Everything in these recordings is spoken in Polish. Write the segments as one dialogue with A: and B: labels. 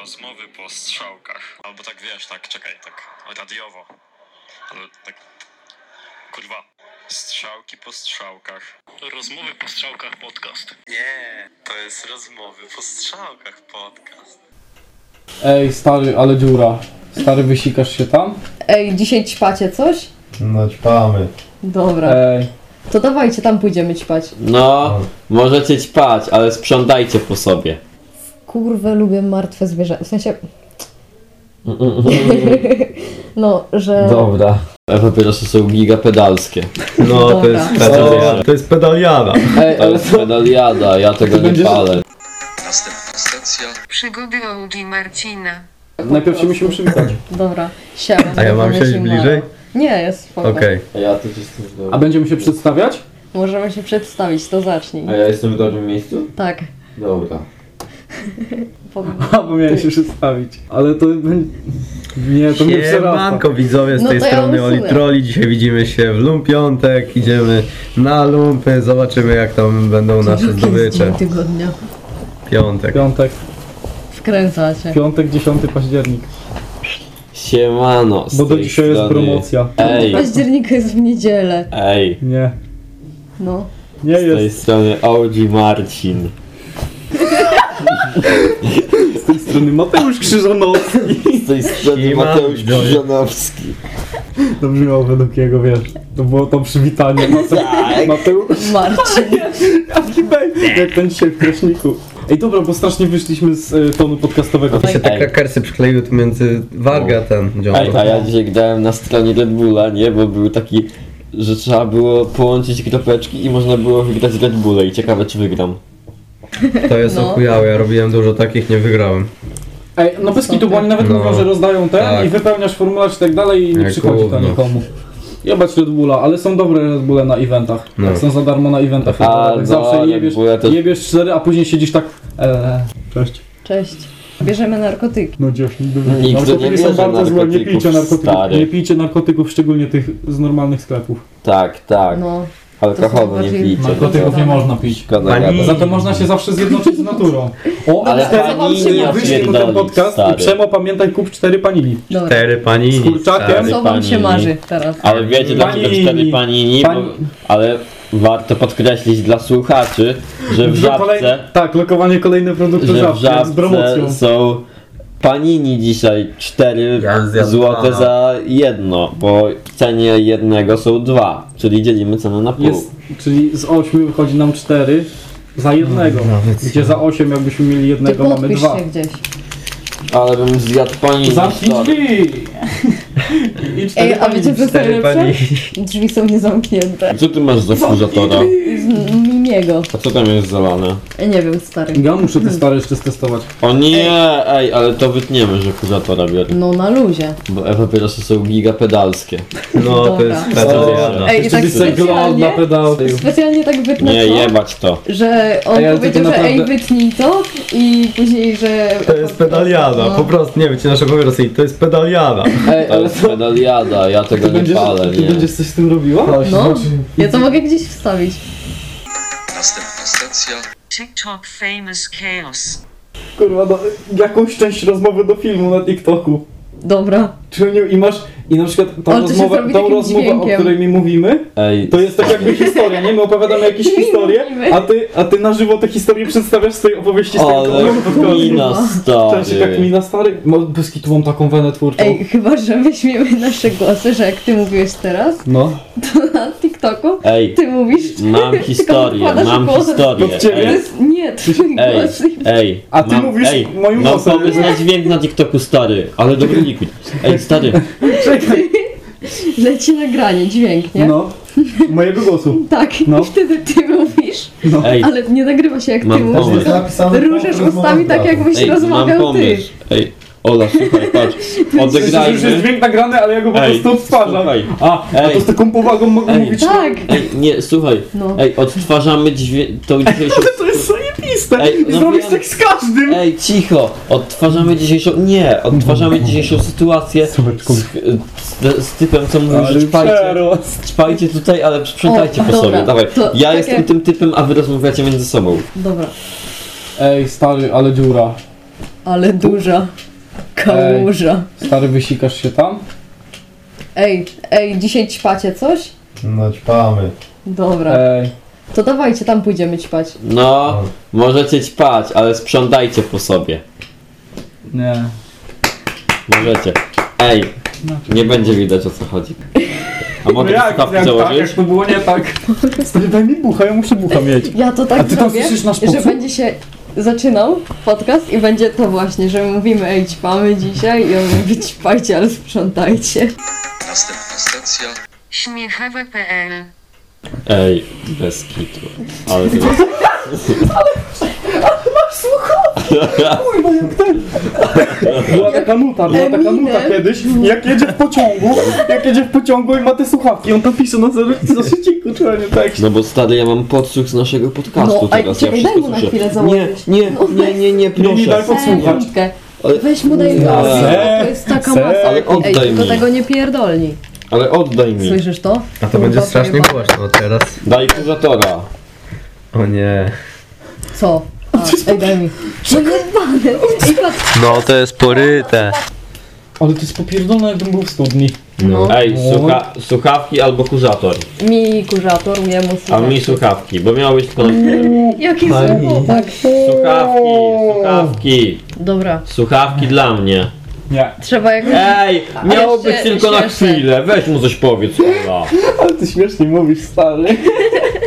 A: rozmowy po strzałkach. Albo tak wiesz, tak, czekaj, tak radiowo. Ale tak. Kurwa. Strzałki po strzałkach.
B: Rozmowy po strzałkach podcast.
A: Nie, to jest rozmowy po strzałkach podcast.
C: Ej, stary, ale dziura. Stary, wysikasz się tam?
D: Ej, dzisiaj ćpacie coś?
E: No ćpamy. E.
D: Dobra.
C: Ej.
D: To dawajcie, tam pójdziemy ćpać.
F: No, możecie ćpać, ale sprzątajcie po sobie.
D: Kurwę, lubię martwe zwierzę. W sensie... no, że...
F: Dobra. Papierosy są gigapedalskie.
E: No
D: Dobra.
E: to jest pedaliana. To jest pedaliana.
C: Ej,
F: To
C: ale
F: jest
C: co?
F: pedaliada, ja tego nie
C: będziesz-
F: palę.
G: Przygody Ołdzi Marcina.
C: Najpierw się musimy przywitać.
D: Dobra. Siema.
E: A ja mam
D: nazywam
E: siedzieć
D: się
E: bliżej?
D: Mara. Nie, jest spoko.
E: Okej.
F: A ja też jestem w
C: A
F: dobrym.
C: będziemy się przedstawiać?
D: Możemy się przedstawić, to zacznij.
F: A ja jestem w dobrym miejscu?
D: Tak.
F: Dobra.
D: Po...
C: A, bo miałem się przedstawić. Ale to... będzie- Nie, to mnie przerasta.
E: Siemanko widzowie z
D: No
E: tej
D: to ja
E: strony
D: usunę.
E: Oli Troli. Dzisiaj widzimy się w Lumpiątek. Idziemy na lumpy. Zobaczymy jak tam będą nasze
D: Drugi z
E: zdobycze.
D: dzień tygodnia.
E: Piątek.
C: Piątek,
D: Wkręcacie.
C: piątek, 10 październik.
F: Siemano. z
C: Bo do
F: tej
C: dzisiaj jest
F: strony-
C: promocja.
F: Ej,
D: Października jest w niedzielę.
F: ej.
C: Nie,
D: No.
C: nie
F: Z tej
C: jest.
F: strony OG Marcin.
C: Z tej strony Mateusz Krzyżanowski.
F: Z tej strony
E: Siema,
F: Mateusz
E: widzowie.
F: Krzyżanowski.
C: To brzmiało według jego, wiesz. To było to przywitanie. Mate... Mateusz...
D: Marcin.
C: Jaki bej- Jak ten dzisiaj w kraśniku. Ej, dobra, bo strasznie wyszliśmy z y, tonu podcastowego.
E: I się te
F: Ej.
E: krakersy przykleiły tu między warga
F: O.
E: ten
F: Ej, a
E: dziąbro.
F: ja dzisiaj grałem na stronie Red Bulla, nie? Bo był taki, że trzeba było połączyć kropeczki i można było wygrać Red Bulla i ciekawe czy wygram.
E: To jest
D: No.
E: ochujałe. Ja robiłem dużo takich, nie wygrałem.
C: Ej, no bez kitu, bo oni nawet
E: No.
C: mówią, że rozdają ten
E: Tak.
C: i wypełniasz formularz i tak dalej i nie
E: Jak
C: przychodzi to
E: gówno.
C: nikomu. Jebać Red Bulla, ale są dobre Red Bulle na eventach.
E: No.
C: Tak są za darmo na eventach.
F: A,
C: tak
F: no,
C: zawsze
F: Red
C: jebiesz,
F: Bulle to-
C: jebiesz cztery, a później siedzisz tak... Eee, cześć.
D: Cześć. Bierzemy narkotyki.
C: No gdzież,
F: nie
C: narkotyki są
F: bierze
C: bardzo złe, nie
F: narkotyków,
C: pijcie narkotyków,
F: stary.
C: nie pijcie narkotyków, szczególnie tych z normalnych sklepów.
F: Tak, tak.
D: No.
F: Alkoholu nie
D: bardziej-
F: pijcie. bo to
C: Narkotyków nie można pić.
F: szkoda
E: Pani-
F: gadać.
C: Za to można się zawsze zjednoczyć z naturą. O,
F: Ale
C: cztery
F: panini
C: panini, wyślij mu ten
F: odpierdolić,
C: podcast i
F: stary.
C: Przemo pamiętaj kup cztery panili.
D: Dobra.
E: Cztery panini.
C: Z kurczakiem?
F: Tak.
E: stary.
D: Co wam się
F: Pani-
D: marzy teraz?
F: Ale wiecie dlaczego
C: Pani-
F: cztery panini? Bo,
C: Pani-
F: ale warto podkreślić dla słuchaczy, że w
C: Że kolej-
F: żabce,
C: tak, lokowanie kolejne produktu
F: że w
C: żabce z promocją.
F: żabce są panini dzisiaj cztery
E: Ja zjadłem
F: złote
E: pana.
F: za jedno, bo w cenie jednego są dwa, czyli dzielimy cenę na pół.
C: Jest, czyli z 8 wychodzi nam 4 za jednego. gdzie za 8 jakbyśmy mieli
D: Ty
C: jednego, mamy
D: podpisz
C: dwa.
D: się gdzieś.
F: Ale bym zjadł panini.
C: Zamknij
F: stary.
C: drzwi! I cztery
D: Ej, a
C: panili.
D: wiecie co jest
E: Cztery
D: najlepsze?
E: panini.
D: Drzwi są niezamknięte.
F: Co ty masz za kurzatora?
D: Z Mimiego.
F: A co tam jest zalane?
D: mm, Nie wiem, stary.
C: Ja muszę te stare jeszcze testować.
F: O nie, ej, ale to wytniemy, że kurzatora biorę.
D: No na luzie.
F: Bo e-papierosy są gigapedalskie.
E: No to
D: Dobra.
E: jest pedaliana.
D: Ej, i
C: Jeszcze
D: tak
C: na
D: specjalnie,
C: pedał.
D: specjalnie tak
C: No
D: wytnę
F: Nie,
D: to,
F: jebać to.
D: że on
C: Ej, ale
D: powiedział,
C: tego
D: że ej,
C: naprawdę-
D: wytnij to i później, że...
E: To jest
D: No.
E: pedaliana. Po prostu nie wiem, naszego Rosji. To jest pedaliana.
C: Ej,
F: To
C: ale
F: jest
C: co?
F: pedaliada, ja tego
C: Ty
F: nie
C: będziesz,
F: palę,
C: ty
F: nie.
C: będziesz coś z tym robiła?
D: No, ja to mogę gdzieś wstawić.
G: TikTok famous chaos.
C: Kurwa, no, jakąś część rozmowy do filmu na TikToku.
D: Dobra.
C: Czy nie, I masz, i na przykład tą
D: Ale to się
C: rozmowę,
D: zrobi
C: tą
D: takim
C: rozmowę o
D: dźwiękiem.
C: której mi mówimy,
F: Ej,
C: To jest tak jakby historia, nie? My opowiadamy jakieś historie, a ty, a ty na żywo te historie przedstawiasz z tej opowieści z tego
F: ale kmina
C: Cześć, jak
F: stary.
C: mina stary. Ma Beski tu mam taką wenę twórczą.
D: Ej, chyba, że weźmiemy nasze głosy, że jak ty mówiłeś teraz
C: No.
D: na TikToku,
F: Ej,
D: ty mówisz...
F: mam
D: tylko
F: historię,
D: wkładasz
F: mam
D: głos.
F: historię.
C: No w ciebie?
D: To
F: Ej,
D: jest... Nie, twój
F: Ej,
D: głos.
F: ej,
C: A ty
F: mam-
C: mówisz
F: ej,
C: moim
F: mam
C: głosem.
F: pomysł na dźwięk na TikToku stary, ale dobry liquid. Ej stary,
D: Leci nagranie, dźwięk, nie?
C: No. Mojego głosu.
D: Tak,
C: No.
D: i wtedy ty mówisz,
F: ej,
D: ale nie nagrywa się jak ty
F: Mam
D: mówisz.
F: pomysł.
D: Różesz ustami tak, jakbyś
F: ej, mam
D: rozmawiał ty.
F: pomysł. Ej, Ola, słuchaj, patrz,
C: Myślę, że już jest
F: odegrajmy.
C: dźwięk nagrany, ale ja go po
F: Ej,
C: prostu odtwarzam.
F: słuchaj.
C: A, a to
F: Ej.
C: z taką powagą mogę
F: Ej.
C: mówić.
D: Tak,
F: Ej, nie, słuchaj,
D: No.
F: ej, odtwarzamy dźwięk, tą dzisiejszą
C: To jest zajebiste.
F: Ej,
C: I
F: no
C: zrobisz
F: wiem.
C: tak z każdym.
F: Ej, cicho! Odtwarzamy dzisiejszą. Nie! Odtwarzamy dzisiejszą sytuację z, z, z typem, co mówił, że czpajcie.
C: przerost.
F: Czpajcie tutaj, ale sprzątajcie
D: O,
F: po
D: dobra,
F: sobie. Dawaj.
D: to tak
F: ja
D: takie-
F: jestem tym typem, a wy rozmawiacie między sobą.
D: dobra.
C: Ej, stary, ale dziura.
D: Ale duża kałuża.
F: Stary, wysikasz się tam?
D: Ej, ej, dzisiaj ćpacie coś?
E: No ćpamy.
D: Dobra.
F: Ej,
D: To dawajcie, tam pójdziemy ćpać.
H: No, możecie ćpać, ale sprzątajcie po sobie.
F: nie.
H: Możecie. Ej, nie będzie widać o co chodzi. A
C: No
H: mogę słuchawki założyć?
F: to było nie tak.
C: Stary, daj mi bucha, ja muszę bucha mieć.
D: Ja to tak
C: A ty tam
D: zrobię,
C: słyszysz nasz
D: że
C: podsłuch?
D: będzie się zaczynał podcast i będzie to właśnie, że mówimy ej, ćpamy dzisiaj i on mówi ćpajcie, ale sprzątajcie.
G: Śmiechowe.pl
H: Ej, bez kitu. Ale to
C: Kurwa, jak ten. Była taka nuta, była taka
D: Eminem.
C: nuta kiedyś, jak jedzie w pociągu, jak jedzie w pociągu i ma te słuchawki, on to pisze no, na zeszyciku, czułem nie tak.
H: No bo stary, ja mam podsłuch z naszego podcastu
D: No, a
H: teraz.
D: czekaj,
H: ja
D: daj
H: wszystko
D: mu na
H: słyszę.
D: chwilę założyć.
H: Nie, nie,
D: No
H: nie, nie, nie,
C: Nie, daj
H: proszę.
C: podsłuchać.
D: Minutkę.
H: Ale-
D: Weź mu daj głos,
C: Se-
D: to jest taka
C: se-
D: masa.
H: Ale
D: Ej,
H: oddaj
D: tylko
H: mi.
D: tego nie pierdolni.
H: Ale oddaj mi.
D: Słyszysz to?
E: A to będzie strasznie głośno teraz.
H: Daj kuratora.
E: O nie.
D: Co? A, ej, daj mi. tak, No jebane. Ej, patrz.
E: No to jest poryte.
F: Ale to jest popierdolone, jakbym był w studni.
D: No.
H: Ej, słucha słuchawki albo kurator.
D: Mi kurzator, jemu
H: A mi słuchawki, bo miało być tylko na chwilę.
D: Jaki zły chłopak.
H: Słuchawki, słuchawki,
D: Dobra,
H: słuchawki dla mnie.
F: Nie.
D: trzeba jak...
H: Ej, miało
D: Ale się
H: być tylko na
D: śmieszę.
H: chwilę. Weź mu coś powiedz, Ola.
C: Ale ty śmiesznie mówisz, stary.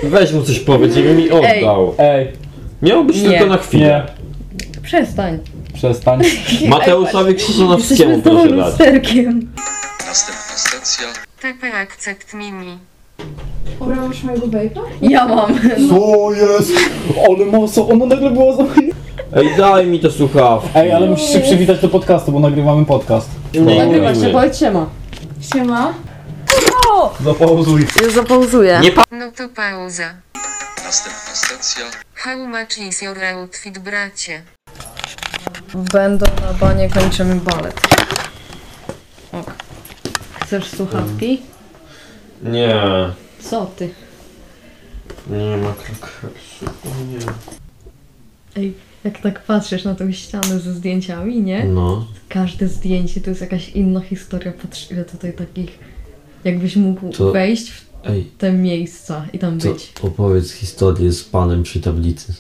H: Weź mu coś powiedz, żeby mi oddał.
F: Ej,
H: Miało być
D: Nie.
H: tylko na chwilę.
D: Przestań.
F: przestań.
H: Mateusowi Krzyżanowskiemu
D: Jesteśmy z tobą
H: No, proszę dać.
D: lusterkiem.
G: TP Accept Mimi.
D: Obrałeś mojego wejpa? Ja mam.
C: Co jest? Ale masa, ono nagle było za...
H: Ej, daj mi te słuchawki.
F: Ej, ale musisz się przywitać do podcastu, bo nagrywamy podcast.
H: No,
D: Nagrywasz się,
H: mówię.
D: powiedz siema. Siema. O!
C: Zapauzuj.
D: Już zapauzuję.
H: Nie
G: No to pauza. Następna stacja. How much is your outfit, bracie?
D: Będą na banie, kończymy balet. Ok. Chcesz słuchawki?
H: Nie,
D: Co ty?
H: nie ma kraksu.
D: Ej, jak tak patrzysz na tą ścianę ze zdjęciami, nie?
H: No.
D: Każde zdjęcie to jest jakaś inna historia. Patrz ile tutaj takich... Jakbyś mógł
H: To-
D: wejść w
H: Ej,
D: te miejsca i tam
H: to
D: być.
H: opowiedz historię z panem przy tablicy.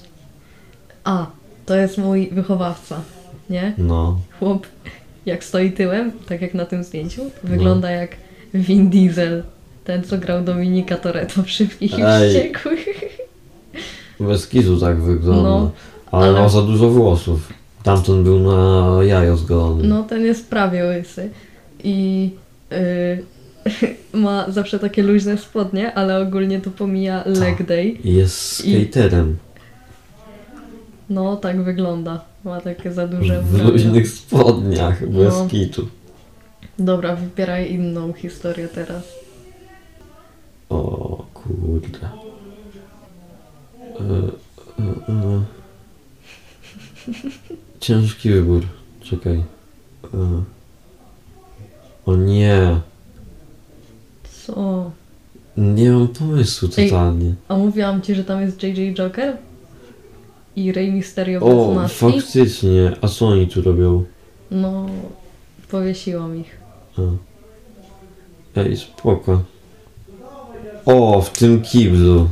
D: A, to jest mój wychowawca, nie?
H: No.
D: Chłop, jak stoi tyłem, tak jak na tym zdjęciu,
H: No.
D: wygląda jak Vin Diesel. Ten, co grał Dominika Toretto w Szybkich i
H: Ej.
D: Wściekłych.
H: Bez kizu tak wygląda.
D: No,
H: ale,
D: ale-
H: miał za dużo włosów. Tamten był na jajo zgolony.
D: No, ten jest prawie łysy. I y, ma zawsze takie luźne spodnie, ale ogólnie to pomija
E: Tak.
D: leg day.
H: I Jest
D: I-
H: skaterem.
D: No, tak wygląda. Ma takie za duże
H: W
D: ubrania.
H: luźnych spodniach, bez
D: No.
H: kitu.
D: Dobra, wybieraj inną historię teraz.
H: O kurde. E, e, e. Ciężki wybór. Czekaj. E. O nie.
D: Co?
H: Nie mam pomysłu
D: Ej.
H: totalnie.
D: A mówiłam ci, że tam jest JJ Joker? I Rey Mysterio bez
H: O,
D: maski?
H: faktycznie. A co oni tu robią?
D: No, powiesiłam ich.
H: Ej, spoko. O, w tym kiblu.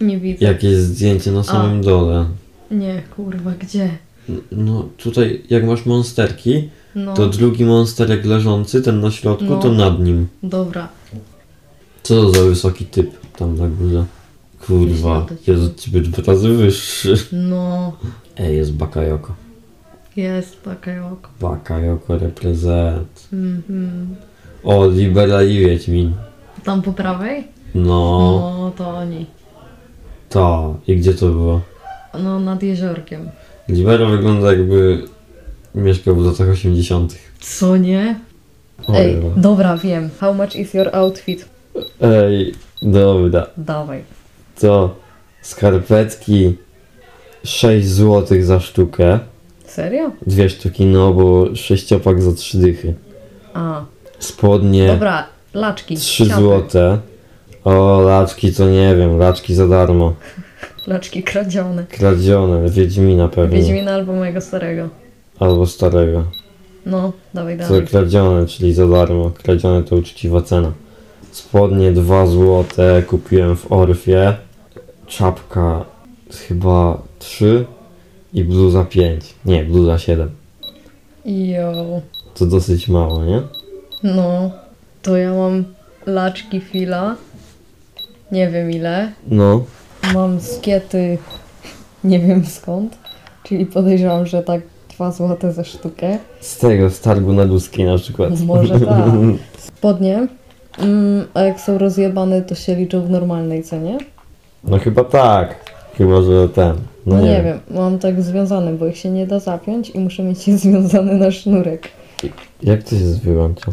D: Nie widzę.
H: Jakieś zdjęcie na samym dole.
D: Nie, kurwa, gdzie?
H: N- No tutaj, jak masz monsterki,
D: No,
H: to drugi monsterek leżący, ten na środku,
D: No.
H: to nad nim.
D: dobra.
H: Co to za wysoki typ tam na górze? Kurwa,
D: Myślę, że-
H: jest od ciebie dwa razy wyższy.
D: No,
H: Ej, jest Bakayoko.
D: jest pakajok.
H: Bakayoko reprezent.
D: Mhm.
H: O, Libera i Wiedźmin.
D: Tam po prawej?
H: No,
D: No, to oni.
H: to. I gdzie to było?
D: No, nad jeziorkiem.
H: Libera wygląda jakby mieszkał w latach 80.
D: Co nie? Ej,
H: Ojej.
D: dobra, wiem. How much is your outfit?
H: Ej, dobra.
D: Dawaj.
H: To skarpetki 6 zł za sztukę.
D: Serio?
H: Dwie sztuki, no bo sześciopak za trzy dychy.
D: A,
H: Spodnie
D: dobra, laczki.
H: 3
D: ciapy.
H: złote. O, laczki to nie wiem, laczki za darmo.
D: Laczki kradzione.
H: Kradzione, Wiedźmina pewnie.
D: Wiedźmina albo mojego starego.
H: Albo starego.
I: No, dawaj
H: Co
I: dalej.
H: kradzione, czyli za darmo. Kradzione to uczciwa cena. Spodnie 2 złote kupiłem w Orfie. Czapka chyba 3 i bluza 5. Nie, bluza 7.
I: Jo.
H: To dosyć mało, nie?
I: No, to ja mam laczki fila. Nie wiem ile.
H: No.
I: Mam skiety nie wiem skąd. Czyli podejrzewam, że tak dwa złote za sztukę.
H: Z tego, z targu na Duskiej na przykład.
I: Może tak. Spodnie. Mm, a jak są rozjebane, to się liczą w normalnej cenie?
H: No chyba tak. Chyba, że ten. No
I: nie wiem. mam tak związane, bo ich się nie da zapiąć i muszę mieć je związane na sznurek.
H: Jak to się wyłącza?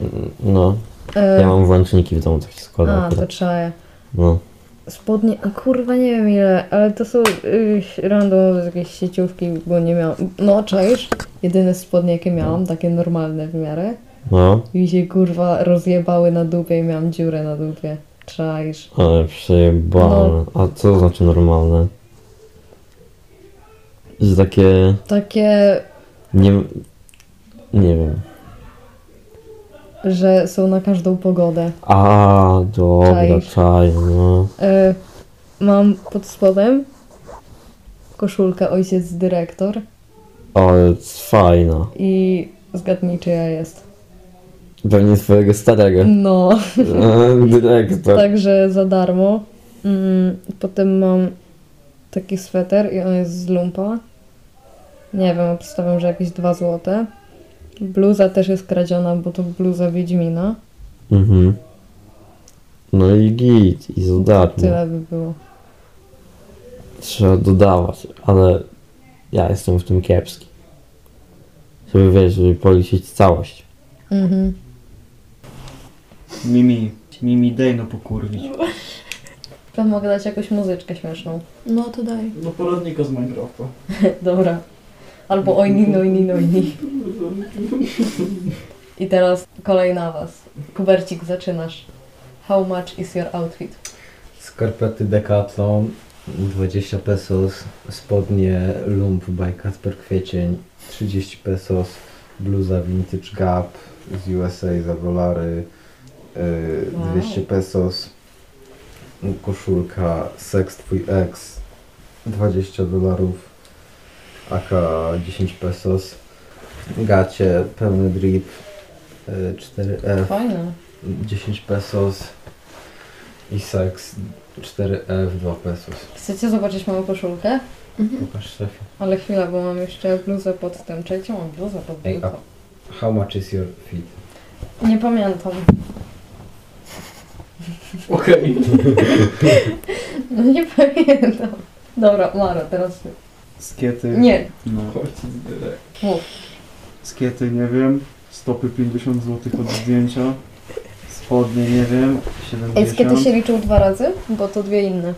H: Mm, No.
I: E,
H: Ja mam włączniki w domu, tak się składa.
I: a, to
H: akurat.
I: trzeba je.
H: No.
I: Spodnie, a kurwa nie wiem ile, ale to są yy, random z jakiejś sieciówki, bo nie miałam. No, czaisz? Jedyne spodnie jakie miałam, takie normalne w miarę.
H: No.
I: I się kurwa rozjebały na dupie i miałam dziurę na dupie. Czaisz?
H: Ale przejebane.
I: No.
H: A co to znaczy normalne? Że takie...
I: Takie,
H: Nie... Nie wiem.
I: że są na każdą pogodę.
H: A, dobra,
I: Czaisz.
H: czaj, no.
I: E, mam pod spodem koszulkę ojciec dyrektor
H: Ale jest fajna.
I: i zgadnij czyja jest.
H: Pewnie twojego starego.
I: No.
H: Dyrektor.
I: Także za darmo. Mm, potem mam taki sweter i on jest z lumpa. Nie wiem, obstawiam, że jakieś 2 złote. Bluza też jest kradziona, bo to bluza Wiedźmina.
H: Mhm. No i git, i za darmo.
I: Tyle Tak by było.
H: Trzeba dodawać, ale ja jestem w tym kiepski. Żeby wiesz, żeby policzyć całość.
I: Mhm.
C: Mimi, Mimi, daj no pokurwić.
I: To mogę dać jakąś muzyczkę śmieszną.
D: No to daj.
C: No poradnika z Minecrafta.
I: Dobra. Albo ojni, no nojni, nojni. I teraz kolej na was. Kubercik, zaczynasz. How much is your outfit?
E: Skarpety Decathlon 20 pesos, spodnie Lump by Kasper Kwiecień 30 pesos, bluza Vintage Gap z USA za dolary y,
I: Wow.
E: 200 pesos, koszulka Sex Twój Ex 20 dolarów, aka 10 pesos, gacie pełny drip y, 4F
I: Fajne.
E: 10 pesos i seks 4F 2 pesos.
I: Chcecie zobaczyć moją koszulkę?
E: Pokaż szefie.
I: Ale chwila, bo mam jeszcze bluzę pod tym. Czy jaką mam bluzę pod
E: Ej,
I: bluzą?
E: How much is your fit?
I: Nie pamiętam.
F: Okej.
I: No nie pamiętam. Dobra, Maro, teraz ty.
C: Skiety.
I: Nie.
C: No.
I: Mów.
C: Skiety nie wiem. Stopy 50 zł od zdjęcia. Spodnie nie wiem. 70.
I: Ej, kiedy się liczył dwa razy? Bo to dwie inne.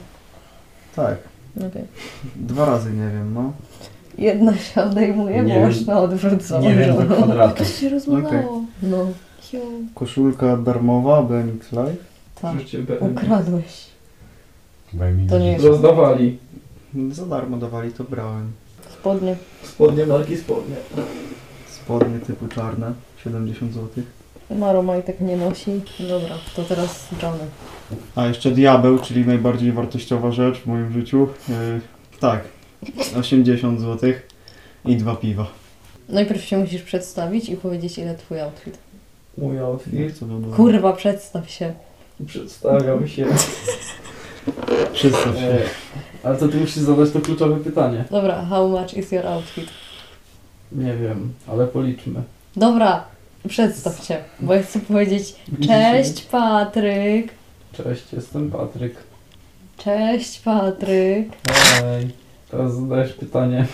C: Tak.
I: Okay.
C: Dwa razy nie wiem, no.
I: Jedna się odejmuje,
E: Nie
I: bo
E: wiem.
I: już na odwrót są.
D: To
E: kwadratu.
D: się rozmawiało.
I: No,
D: Jo.
C: Koszulka darmowa, BMX Live.
I: tak. Ukradłeś. To nie jest.
F: Rozdawali.
C: Za darmo dawali, to brałem.
I: Spodnie.
F: Spodnie, marki spodnie.
C: Spodnie typu czarne. 70 zł.
I: Maro majtek nie nosi. Dobra, to teraz Johnny.
C: A jeszcze diabeł, czyli najbardziej wartościowa rzecz w moim życiu. Yy, tak. 80 zł i dwa piwa.
I: Najpierw się musisz przedstawić i powiedzieć, ile twój outfit.
F: Mój outfit.
C: co to było?
I: Kurwa, przedstaw się.
F: Przedstawiam się.
C: Przystaw się.
F: E, ale to ty musisz zadać to kluczowe pytanie.
I: Dobra, how much is your outfit?
F: Nie wiem, ale policzmy.
I: Dobra, przedstaw się, bo ja chcę powiedzieć cześć Patryk,
F: Cześć, jestem Patryk.
I: cześć Patryk,
F: Hej. Teraz zadajesz pytanie.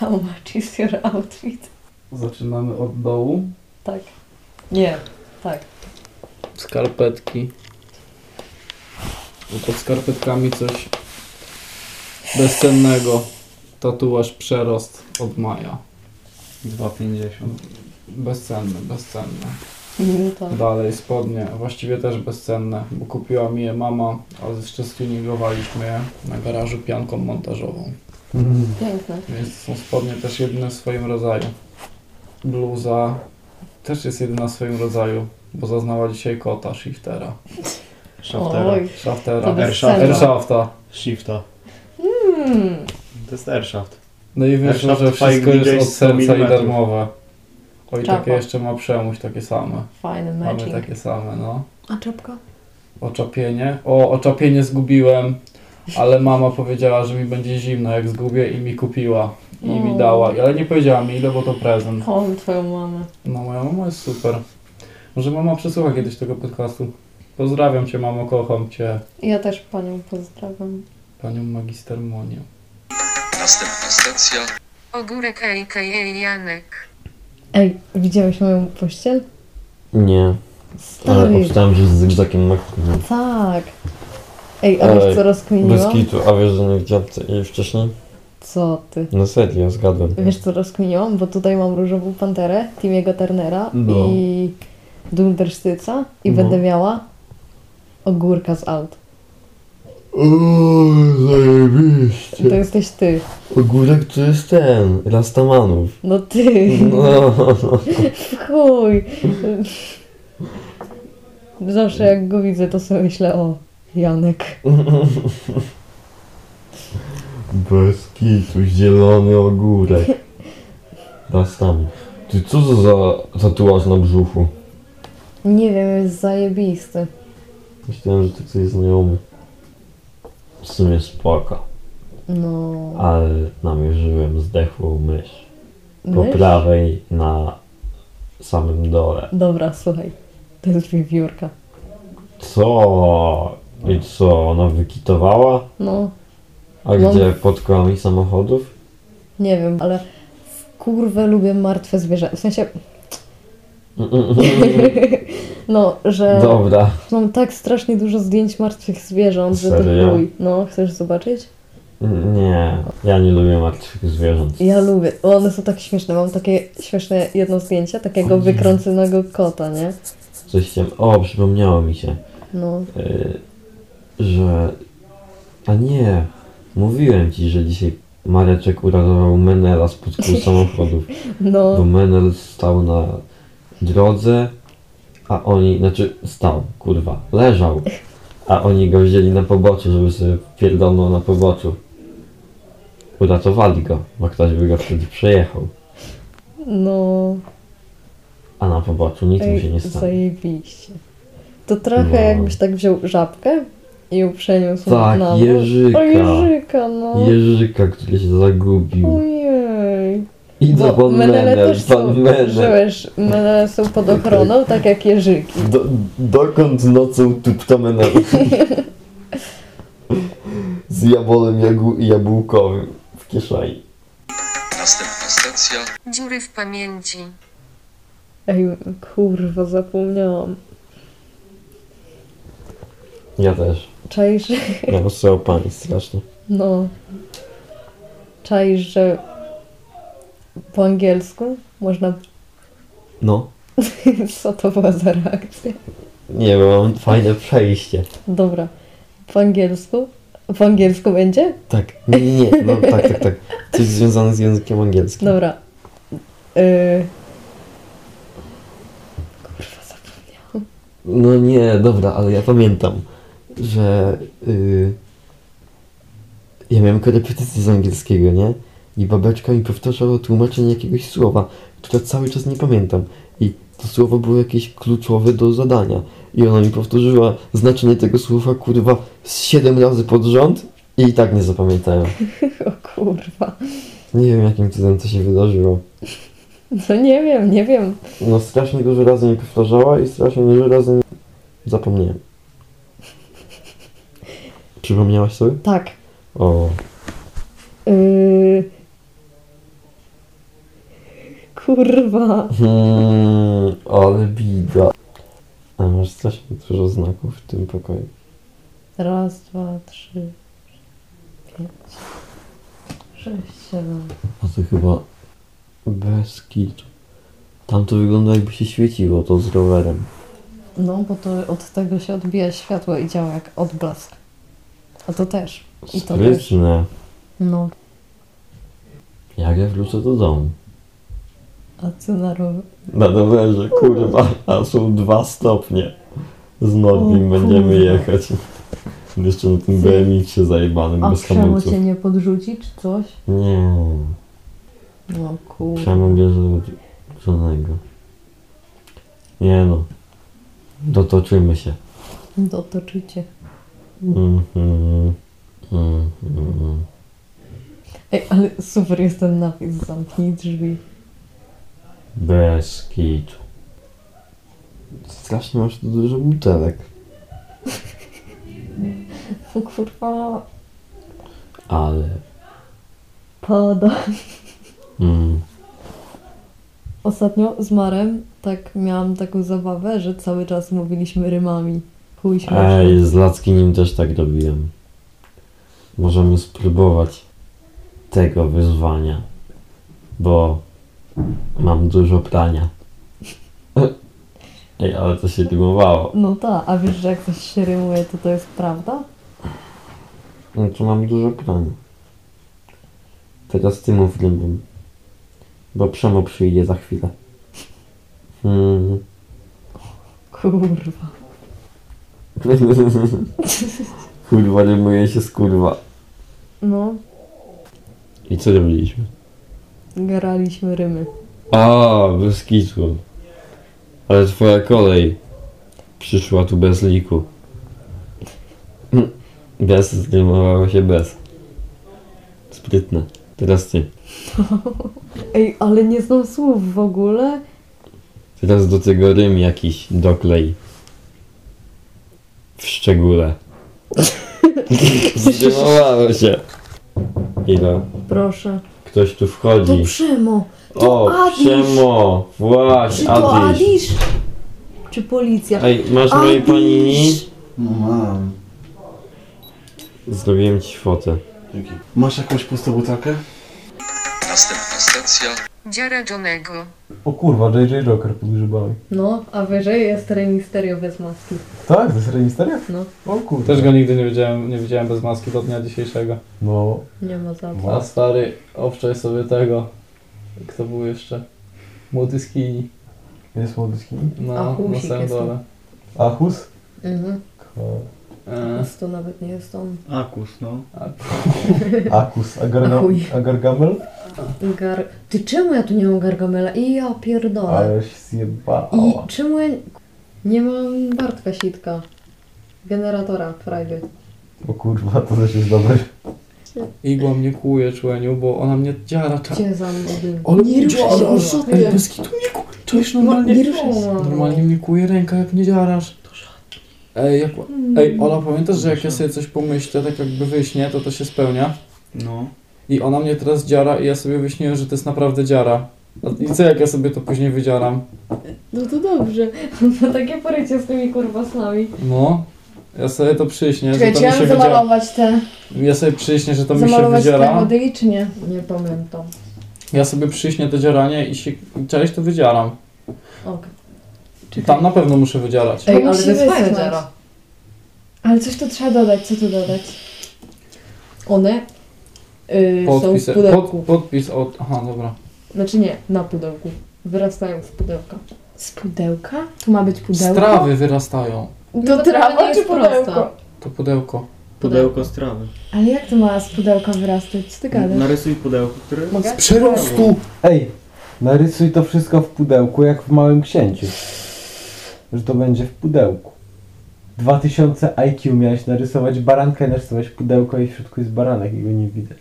I: how much is your outfit?
F: Zaczynamy od dołu.
I: Tak. Nie, tak.
F: Skarpetki. Pod skarpetkami coś bezcennego. Tatuaż przerost od Maja.
C: 2,50.
F: Bezcenne, bezcenne.
I: Minuta.
F: Dalej spodnie, właściwie też bezcenne, bo kupiła mi je mama, ale jeszcze stuningowaliśmy je na garażu pianką montażową.
D: Piękne.
F: Mhm. Więc są spodnie też jedyne w swoim rodzaju. Bluza też jest jedyna w swoim rodzaju, bo zaznała dzisiaj kota shiftera.
C: Shaftera.
D: Oj. To
F: Shaftera.
D: bez
C: Airshaft.
D: sensu.
F: Airshafta.
C: Shifta.
D: Mm.
C: To jest airshaft.
F: Hmm. No i wyszło,
C: Airshaft
F: że wszystko
C: Fike DJ
F: jest od
C: 100
F: serca i
C: mm.
F: darmowe. Oj,
D: Czapa.
F: takie jeszcze ma przemuś, takie same.
D: Fajny
F: Mamy
D: matching.
F: takie same, no.
D: A czapka?
F: Oczapienie. O, oczapienie zgubiłem, ale mama powiedziała, że mi będzie zimno jak zgubię i mi kupiła. I mi
D: O.
F: dała, ale nie powiedziała mi ile, bo to prezent.
D: Kocham twoją mamę.
F: No moja mama jest super. Może mama przesłucha kiedyś tego podcastu. Pozdrawiam cię mamo, kocham cię.
D: Ja też panią pozdrawiam.
F: Panią magister Monię.
B: Następna stacja.
G: Ogórek a.k.a. Janek.
I: Ej, widziałeś moją pościel?
H: Nie, ale
I: Stary,
H: obstałem, że z zygzakiem na kuchni.
I: tak. Ej, a wiesz
H: Ej,
I: co
H: Bez
I: rozkminiłam?
H: kitu, a wiesz, że nie w dziabce i wcześniej?
I: Co ty?
H: No serio, zgadłem.
I: Wiesz co rozkminiłam? Bo tutaj mam różową panterę, Timiego Turnera
H: No.
I: i Dundersztyca i
H: No.
I: będę miała ogórka z aut.
H: Uuu,
I: To
H: zajebiście.
I: jesteś ty.
H: Ogórek to jest ten, Rastamanów.
I: No ty.
H: No,
I: Chuj. Zawsze jak go widzę, to sobie myślę, o, Janek.
H: bez kitu, zielony ogórek. Rastaman. Ty co to za tatuaż na brzuchu?
I: Nie wiem, jest zajebisty.
H: Myślałem, że to ktoś znajomy. W sumie spoko,
I: No.
H: ale namierzyłem zdechłą mysz. Po
I: mysz?
H: prawej na samym dole.
I: Dobra, słuchaj. To jest wiewiórka.
H: Co? I co, ona wykitowała?
I: No,
H: A
I: No.
H: gdzie, pod kołami samochodów?
I: nie wiem, ale kurwę lubię martwe zwierzę. W sensie, no, że
H: Dobra.
I: mam tak strasznie dużo zdjęć martwych zwierząt, że to
H: Serio?
I: chuj. No, chcesz zobaczyć?
H: Nie, ja nie lubię martwych zwierząt.
I: Ja lubię. O, One są tak śmieszne. Mam takie śmieszne jedno zdjęcie takiego wykrąconego kota, nie?
H: Coś tam. O, przypomniało mi się,
I: No,
H: y, że. A nie, mówiłem ci, że dzisiaj Mareczek uratował Menela spod kół samochodów. Bo
I: no,
H: Menel stał na drodze, a oni, znaczy stał, kurwa, leżał, a oni go wzięli na poboczu, żeby sobie pierdolnął na poboczu. Uratowali go, bo ktoś by go wtedy przejechał,
I: no.
H: a na poboczu nic mu się nie stało.
I: zajebiście. To trochę
H: No.
I: jakbyś tak wziął żabkę i ją przeniósł
H: Tak,
I: na
H: jeżyka.
I: O, jeżyka, no.
H: Jerzyka, który się zagubił.
I: Ojej.
H: I do
I: Bo
H: pan
I: menele
H: Menel,
I: też są,
H: pan Menel.
I: żyłeś, menele są pod ochroną, tak jak jeżyki.
H: Do, dokąd nocą tupta Menel? Z jabolem jagół, jabłkowym w kieszeni.
B: Następna stacja.
G: Dziury w pamięci.
I: Ej, kurwa, zapomniałam.
H: Ja też.
I: Czaisz,
H: Ja posyłał pani strasznie.
I: no... Czaisz, że po angielsku można...
H: No.
I: Co to była za reakcja?
H: Nie wiem, mam fajne przejście.
I: Dobra, po angielsku? Po angielsku będzie?
H: Tak. Nie, nie, nie. No tak, tak, tak. Coś związane z językiem angielskim.
I: Dobra. Y... Kurwa, zapomniałam.
H: No nie, dobra, ale ja pamiętam, że y, ja miałem korepetycję z angielskiego, nie? I babeczka mi powtarzała tłumaczenie jakiegoś słowa, które cały czas nie pamiętam. I to słowo było jakieś kluczowe do zadania. I ona mi powtórzyła znaczenie tego słowa, kurwa, z 7 razy pod rząd i i tak nie zapamiętałem.
I: O kurwa.
H: Nie wiem, jakim cudem to się wydarzyło.
I: No nie wiem, nie wiem.
H: No strasznie dużo razy mi powtarzała i strasznie dużo razy zapomniałem. Przypomniałaś sobie?
I: Tak.
H: O,
I: Y... Kurwa.
H: hmm, ale bida. A masz strasznie dużo znaków w tym pokoju.
I: Raz, dwa, trzy, pięć, sześć, siedem.
H: A No to chyba bez kitu. Tam to wygląda jakby się świeciło to z rowerem.
I: No, bo to od tego się odbija światło i działa jak odblask. A to też. I to też.
H: Sprytne.
I: No.
H: Jak ja wrócę do domu?
I: A co na rower?
H: Na rowerze, kurwa, a są dwa stopnie. Z Norwim
I: O,
H: będziemy
I: kurwa.
H: jechać. Jeszcze na tym BMX-ie zajebanym,
I: A
H: bez
I: Przemo
H: hamulców.
I: cię nie podrzuci czy coś?
H: Nie,
I: No kurde.
H: Przemo bierze od żadnego. Nie no, dotoczymy się.
I: Dotoczycie.
H: Mhm. Mhm.
I: Ej, ale super jest ten napis, zamknij drzwi.
H: Bez kitu. Strasznie masz tu dużo butelek.
I: O kurwa,
H: Ale...
I: pada.
H: Mm.
I: Ostatnio z Marem tak miałam taką zabawę, że cały czas mówiliśmy rymami. Chuj śmieszny.
H: Ej, z Lackinim też tak robiłem. Możemy spróbować tego wyzwania, bo mam dużo prania. Ej, ale to się dymowało.
I: No ta, a wiesz, że jak coś się rymuje, to to jest prawda?
H: No to mam dużo prania. Teraz ty mów rybą, bo Przemo przyjdzie za chwilę. Hmm.
I: Kurwa.
H: kurwa, rymuje się z kurwa.
I: No,
H: I co robiliśmy?
I: graliśmy rymy.
H: A, bez kitu. Ale twoja kolej przyszła tu bez liku. Bez zdejmowało się bez. Sprytne. Teraz ty.
I: Ej, ale nie znam słów w ogóle.
H: Teraz do tego rym jakiś doklej. W szczególe. Zdejmowało się. Ile?
I: Proszę.
H: Ktoś tu
I: To
H: wchodzi.
I: Przemo! To
H: O,
I: Adisz!
H: Przemo!
I: Czy
H: Właśnie,
I: to
H: Adisz.
I: Adisz? Czy policja?
H: Ej, masz mojej panini?
I: Adisz!
F: No mam.
H: Zrobiłem ci fotę.
F: Dzięki. Masz jakąś pustą butelkę?
J: Następna stacja.
G: Dziara Johnego.
C: O kurwa, JJ Joker pod grzybami.
I: No, a wyżej jest remisterio bez maski.
C: Tak, to jest remisteria?
I: No.
C: O kurwa. Też go nigdy nie widziałem, nie widziałem bez maski do dnia dzisiejszego. No.
I: Nie ma za
C: A stary, owczaj sobie tego. Kto był jeszcze? Młody skinny. Jest młody skinny?
I: A
C: No, na
I: Husik
C: samym
I: jest tam.
C: dole. Achus?
I: Mhm.
C: E,
I: Więc to nawet nie jest on.
F: Akus, no.
C: Akus, a,
I: A chuj.
C: No, a Gargamel?
I: Gar... Ty czemu ja tu nie mam Gargamela? I ja pierdolę.
C: zjebała.
I: I czemu ja... Nie mam Bartka Sitka. Generatora frajdy.
C: O kurwa, to też jest dobre. Igła mnie kłuje, człeniu, bo ona mnie dziara czas.
I: Gdzie za mną
C: Ale
I: Nie ruszaj się,
C: dziarasz.
I: co ty?
C: Ej, bez kitu mnie kłuje. Cześć, normalnie.
I: Nie ruszaj się.
C: Normalnie mnie kłuje ręka, jak nie dziarasz. Ej, jak, ej, Ola, pamiętasz, że jak ja sobie coś pomyślę, tak jakby wyśnie, to to się spełnia?
F: No.
C: I ona mnie teraz dziara i ja sobie wyśniłem, że to jest naprawdę dziara. A- I co jak ja sobie to później wydziaram?
I: No to dobrze. No takie porycie z tymi kurwa snami.
C: No. Ja sobie to przyśnię, że
D: Czekaj,
C: to
D: czy
C: mi
D: ja
C: się
D: mam
C: wydziara.
D: zamalować te,
C: Ja sobie przyśnię, że to mi się
D: zamalować te
C: wydziara.
D: modyli, czy nie?
I: Nie pamiętam.
C: Ja sobie przyśnię to dzieranie i się cześć to wydzieram.
I: Okej.
C: Tam na pewno muszę wydzierać.
D: Ej,
I: Ej, ale to
D: musimy
I: jest fajne
D: znać.
I: dziara.
D: Ale coś tu trzeba dodać, co tu dodać?
I: One y, są w
C: Podpis, pod,
I: pudełku.
C: podpis od... Aha, dobra.
I: Znaczy nie, na pudełku. Wyrastają z pudełka.
D: Z pudełka? Tu ma być pudełko?
C: Strawy wyrastają.
D: To trawa czy pudełko?
C: To pudełko.
F: Pudełko z trawy.
D: Ale jak to ma z pudełka wyrastać? Co ty gadasz?
F: Narysuj pudełko, które...
I: Mogę?
C: Przerostu!
E: Ej, narysuj to wszystko w pudełku, jak w Małym Księciu. Że to będzie w pudełku. 2000 IQ miałeś narysować baranka i narysować pudełko i w środku jest baranek i go nie widać.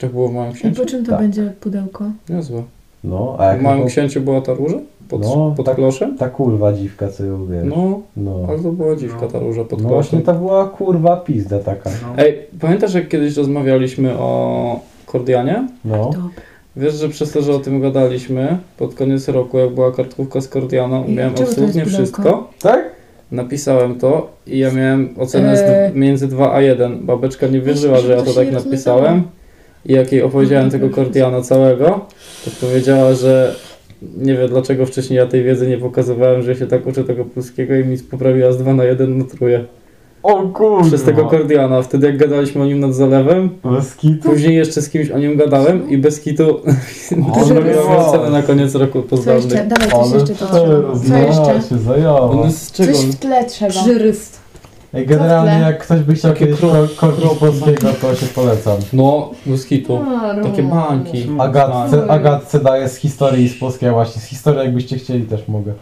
C: To było w moim
D: I
C: księciu?
D: po czym to
E: Tak.
D: będzie pudełko?
C: Niezłe.
E: No, a
C: W
E: jak
C: moim
E: taką-
C: księciu była ta róża? Pod,
E: No,
C: pod
E: tak.
C: kloszem?
E: ta kurwa dziwka, co ją wiesz. No,
C: No,
E: no.
C: ale to była dziwka ta róża pod
E: właśnie
C: kloszem.
E: to była kurwa pizda taka.
F: No.
C: Ej, pamiętasz jak kiedyś rozmawialiśmy o Kordianie?
E: No,
C: Wiesz, że przez to, że o tym gadaliśmy pod koniec roku, jak była kartkówka z Kordiana, umiałem
D: czemu to jest
C: absolutnie
D: pudełko?
C: wszystko.
E: tak?
C: Napisałem to i ja miałem ocenę z
D: Eee.
C: d- między 2 a 1. Babeczka nie wierzyła,
D: Myślę,
C: że ja
D: że
C: to
D: to się
C: tak
D: nie rozmywało.
C: napisałem. I jak jej opowiedziałem tego Kordiana całego, to powiedziała, że nie wie dlaczego wcześniej ja tej wiedzy nie pokazywałem, że się tak uczę tego polskiego i mi poprawiła z 2 na 1 na truje.
E: O kurwa.
C: Przez tego Kordiana. Wtedy jak gadaliśmy o nim nad zalewem,
E: bez kitu?
C: później jeszcze z kimś o nim gadałem i bez kitu zrobiłem scenę na koniec roku
H: Co
C: pozdrawny.
H: jeszcze? Dawaj, coś jeszcze to trzeba. Co jeszcze?
E: się zajęła.
C: On jest z czego?
H: Coś w tle trzeba.
I: Żyryst.
E: Ej, generalnie
H: Co w tle?
E: jak ktoś by chciał
C: Takie
E: kiedyś
C: kro-
E: kor- korpus polskiego, to się polecam.
C: No, bez kitu.
I: A,
C: Takie
I: Roman.
C: bańki.
E: Agatce, Agatce daję z historii i z polskiej, a właśnie z historii jakbyście chcieli też mogę.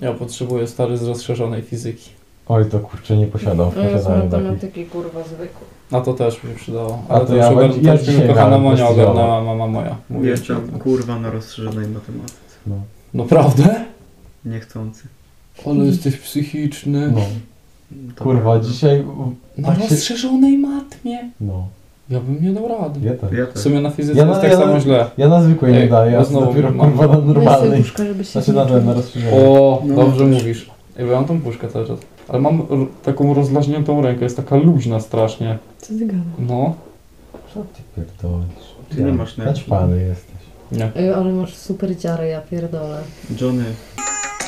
C: Ja potrzebuję stary z rozszerzonej fizyki.
E: Oj, to kurczę, nie posiadam.
I: To jest
E: No, posiadałem takiej.
I: matematyki, kurwa, zwykły.
C: A to też by się przydało.
E: A
C: Ale
E: to
C: to
E: ja
C: już
E: będzie-
C: ogarn-
E: ja
C: to już
E: dzisiaj
C: mi kochana
E: miałem
C: Monia
E: postulową.
C: ogarnała, mama moja. Mówię ci. No
K: Jestem kurwa na rozszerzonej matematyce.
E: No.
C: Naprawdę?
K: Niechcący.
C: Ale jesteś psychiczny.
E: No.
K: To
E: Kurwa,
K: prawda.
E: dzisiaj... u-
C: Na
E: tak się-
C: rozszerzonej matmie.
E: No,
C: Ja bym nie dał rady.
E: ja tak.
K: Ja
C: W
K: też.
C: sumie na fizyce
E: Ja na-
C: jest tak
E: ja na-
C: samo źle.
E: Ja na zwykłej nie
C: Ej,
E: daję,
C: bo
E: a
C: znowu
E: dopiero
C: mam-
E: kurwa na
H: Weź sobie
E: normalnej.
H: puszkę, żeby się
E: No, Znaczy
H: nie
E: na ten, na
H: czuć.
E: rozszerzonej.
C: O,
K: No,
C: dobrze
K: ja też.
C: mówisz. Ja mam tą puszkę cały czas. Ale mam r- taką rozlaźniętą rękę, jest taka luźna strasznie.
I: Co ty gadasz?
C: No.
E: Co ty pierdolisz?
K: Ty nie masz nerwów.
E: Naćpany jesteś.
C: Nie.
I: Ej, ale masz super dziary, ja pierdolę.
K: Johnny,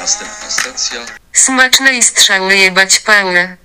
L: Następna stacja.
G: Smacznej strzały jebać pałę.